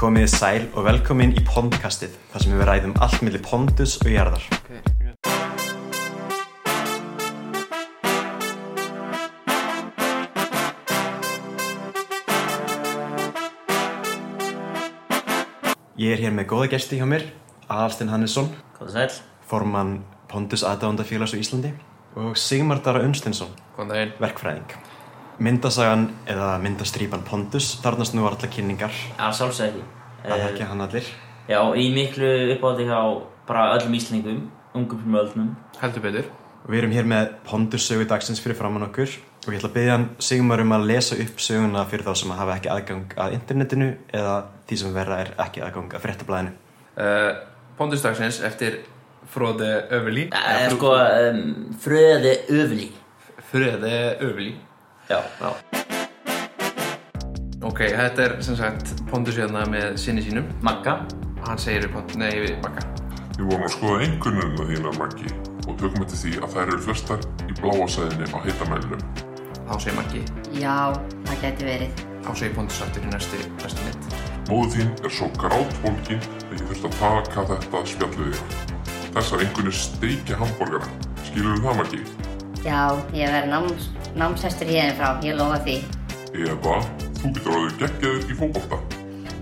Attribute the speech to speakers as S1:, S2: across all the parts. S1: Komið þið sæl og velkomin í Pondkastið, þar sem við ræðum allt millir Pondus og jarðar. Ég er hér með góða gesti hjá mér, Aðalstein Hannesson,
S2: Góða sæl
S1: formann Pondus aðdándafélags á Íslandi og Sigmar Dara Unstinsson,
S2: Góða daginn
S1: verkfræðing. Myndasagan eða myndastrýpan Pondus þarnast nú allar kynningar,
S2: Já, sjálfsög ekki
S1: að
S2: Eh,
S1: ekki hann allir.
S2: Já, í miklu uppáði hjá bara öllum íslendingum Ungum fyrir möldnum
S3: Heldur betur.
S1: Við erum hér með Pondus sögu dagsins fyrir framann okkur og ég ætla að byggja hann Sigmar um að lesa upp söguna fyrir þá sem hafa ekki aðgang að internetinu eða því sem verða er ekki aðgang að fréttablaðinu.
S3: Uh, Pondustagsins eftir Eh, Fróði Öfli.
S2: Það er sko um, fröði öfli
S3: Fröði Öfli.
S2: Já,
S3: Ok, þetta er sem sagt Pondus hérna með sinni sínum.
S2: Magga
S3: Hann segir við Pondus, nei við Magga.
S4: Við vorum að skoða einkunnuna þína, Maggi, og tökum eftir því að þær eru flestar í bláa sæðinni á heitamælunum.
S3: Þá segir Maggi,
S5: Já, það geti verið.
S3: þá segir Pondus aftur í næstu, næstu mitt.
S4: Móðu þín er svo grátbólgin að ég þurft að taka þetta spjall við þér. Þessar einkunnir steikja hambúrgara. Skilur þú það, Maggi?
S5: Já, ég verði náms, námsestur hérna frá, ég lofa því.
S4: Eða þú getur orðið geggjaður í fótbolta.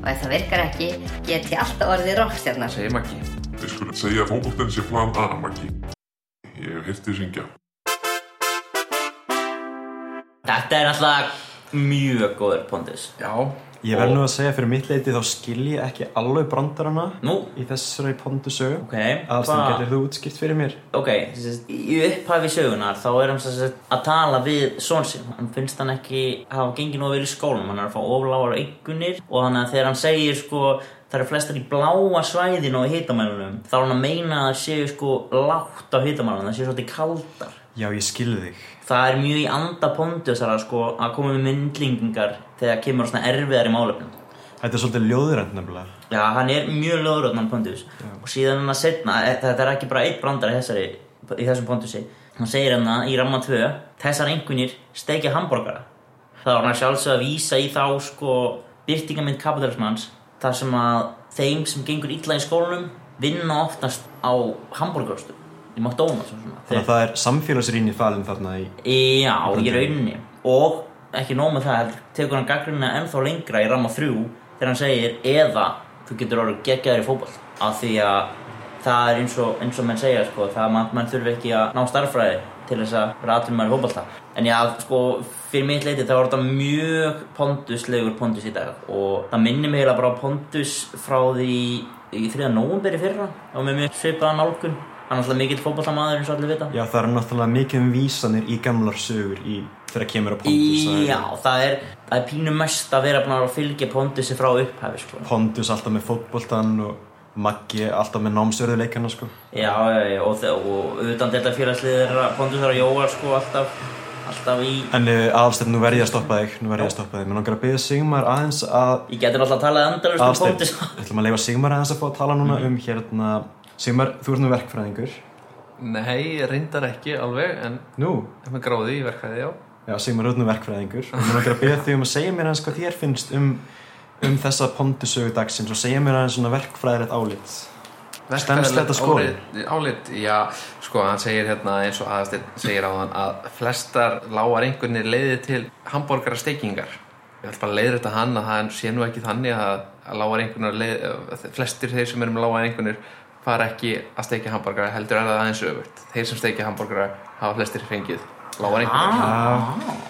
S5: Og ef það virkar ekki, get ég alltaf orðið rockstjarnar.
S3: Segir Maggi.
S4: Við skulum segja að fótboltan sé plan A, Maggi. Ég hef hirtið syngja.
S2: Þetta er alltaf mjög góður pondus
S3: Já.
S1: Ég verð nú að segja fyrir mitt leiti þá skil ég ekki alveg brandarana
S2: Nú?
S1: í þessari Pondus sögu.
S2: Ok,
S1: Aðalsteinn,
S2: hva-
S1: getur þú útskipt fyrir mér?
S2: Ok, sem sagt, í upphafi sögunar þá er hann sem sagt, að tala við són sinn. Hann finnst hann ekki hafa gengið nóg vel í skólanum, hann er að fá ofláar einkunir og þannig að þegar hann segir sko það eru flestar í bláa svæðinu á hitamælunum þá er hann að meina að það séu sko lágt á hitamælunum, það séu svolítið kaldar.
S1: Já, ég skil þig.
S2: Það er mjög í anda pondusara sko að koma með myndlingingar þegar kemur á svona erfiðar í málefnum.
S1: Þetta er svolítið ljóðrænt nefnilega.
S2: Já, hann er mjög lögrotn hann Pontus og síðan hann að setna, þetta er ekki bara eitt brandar í, þessari, í þessum Pontusi hann segir hann að í ramma 2 þessar einhvernir steikja hambúrgara þá er hann sjálfsög að vísa í þá sko byrtingamind kapitalismans þar sem að þeim sem gengur illa í skólanum vinna oftast á hambúrgarstum í McDonalds og svona
S1: Þannig að það er samfélagsrýni falin þarna í...
S2: Já, í rauninni Og ekki nóg með það heldur Tekur hann gaggrinna ennþá lengra í ramma þrjú Þegar hann segir eða Þú getur orðið geggjaður í fótball Af því að það er eins og, eins og menn segja sko, Það er að mann þurfi ekki að ná starffræði Til þess að ratum maður í fótballta En já, sko, fyrir mitt leiti Það var þetta mjög ponduslegur pondus í dag Og það minnir mig eiginlega bara á pondus Frá því í 3. november í fyrra Og með mjög svipaða nálgun Hann er alltaf mikill fótballtamaður eins og allir vita
S1: Já, það eru náttúrulega mikið um vísanir í gamlar sögur í þegar kemur á Pondus. Það eru-
S2: Já, það er, það er pínu mest að vera búin að fylgja Pondusi frá upphafi sko.
S1: Pondus alltaf með fótboltan og Maggi alltaf með námsörðuleikana sko.
S2: Já, já, já, og, þe- og utan delta félagslið er að Pondus er að jóa sko, alltaf, alltaf í
S1: En uh, aðalstætt, nú verð ég að stoppa þig, nú verð ég að stoppa þig. Mér langar að byggja Sigmar aðeins að...
S2: Ég getur alltaf að tala endalust um
S1: Aðalstætt,
S2: Pondus
S1: við ætlum að leifa Sigmar aðeins að fá að tala núna um hérna... Sigmar, þú ert nú verkfræðingur.
S3: Nei, reyndar ekki alveg, en
S1: Nú?
S3: ef maður gráði í verkæði, já.
S1: Já, Sigmar, þú ert nú verkfræðingur. Og mér langar að byggja þig um að segja mér aðeins hvað þér finnst um, um þessa Pondusögu dagsins og segja mér aðeins svona verkfræðilegt álit. Stenst þetta skoðun?
S3: Álit- Álit, já, sko, hann segir hérna eins og aðastir segir á hann að flestar lágar einhvernir leiði til hambúrgara steikingar. Ég ætla bara að leiðra þetta hann að það sé nú ekki þannig að, að lágar einhvernir, leið, að flestir þeir sem erum lágar einhvernir fara ekki að steikja hambúrgara, heldur er það aðeins öfugt. Þeir sem steikja hambúrgara hafa flestir fengið lágar einhvernir.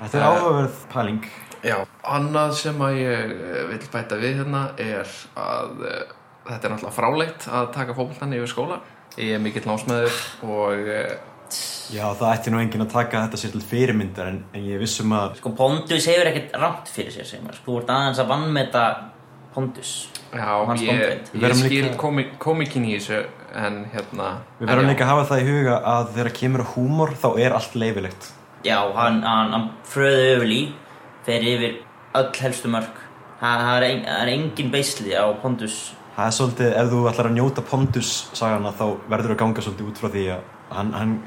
S1: Þetta er áhugaverð pæling.
S3: Já, annað sem að ég eh, vil bæta við hérna er að eh, þetta er náttúrulega fráleitt að taka fókbaltan yfir skóla. Ég er mikill námsmaður og eh,
S1: Já, það ætti nú enginn að taka þetta sér til fyrirmyndar en, en ég vissum að
S2: Sko, Pondus hefur ekkert rámt fyrir sér sem Sko, þú ert aðeins að vannmeta Pondus
S3: já,
S2: Hans
S3: ég,
S2: Bondveit.
S1: Við
S3: ég
S1: verðum
S3: skil
S1: líka-
S3: komi- komikinn í þessu en hérna...
S1: Við verðum
S3: en já,
S1: líka að hafa það í huga að þegar kemur að húmor þá er allt leifilegt.
S2: Já, hann, hann, hann fröði öful í Fer yfir öll helstu mörg Það það er, ein, það er engin beisli á Pondus
S1: Það er svolítið, ef þú ætlar að njóta Pondus sagana þá verður þú að ganga svolítið út frá því að hann, hann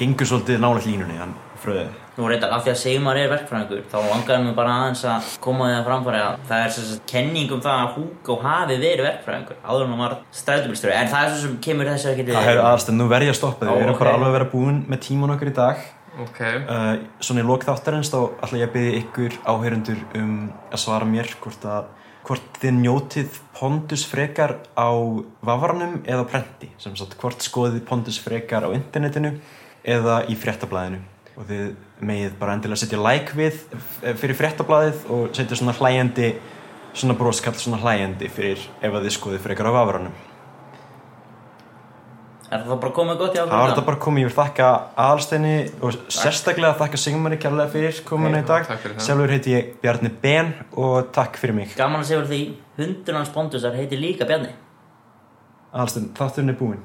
S1: gengur svolítið nálega línunni, hann fröðu
S2: Nú reyndar, af því að Sigmar er verkfræðingur, þá langaði mig bara aðeins að koma því að framfæri að það er sem sagt kenning um það að Hugo hafi verið verkfræðingur, áður en hann var strætóbilstjóri, en það er svo sem kemur þessu ekki til
S1: Það hefur aðstönd, nú verð ég að stoppa þig,
S2: Ó,
S1: við erum
S2: ok.
S1: bara alveg að vera búin með tíman okkur í dag
S3: Ok,
S1: uh, Svona í lok þáttarins þá ætla ég að byggja ykkur áheyrendur um að svara mér hvort að hvort þið njótið Pondus frekar á vafranum eða á prenti sem sagt hvort skoðið Pondus frekar á internetinu eða í fréttablaðinu og þið megið bara endilega setja like við eh, fyrir fréttablaðið og setja svona hlæjandi svona broskall svona hlæjandi fyrir ef að þið skoðið frekar á vafranum
S2: Er það bara komið gott í
S1: Það var
S2: ákveðna?
S1: þetta bara komið, ég vil þakka Alsteini og sérstaklega þakka Sigmari kærlega fyrir komuna í dag.
S3: takk fyrir það.
S1: Sjálfur heiti ég Bjarni Ben og takk fyrir mig.
S2: Gaman að segja fyrir því, hundurinn hans Bondusar heitir líka Bjarni.
S1: Alstein, þátturinn er búinn.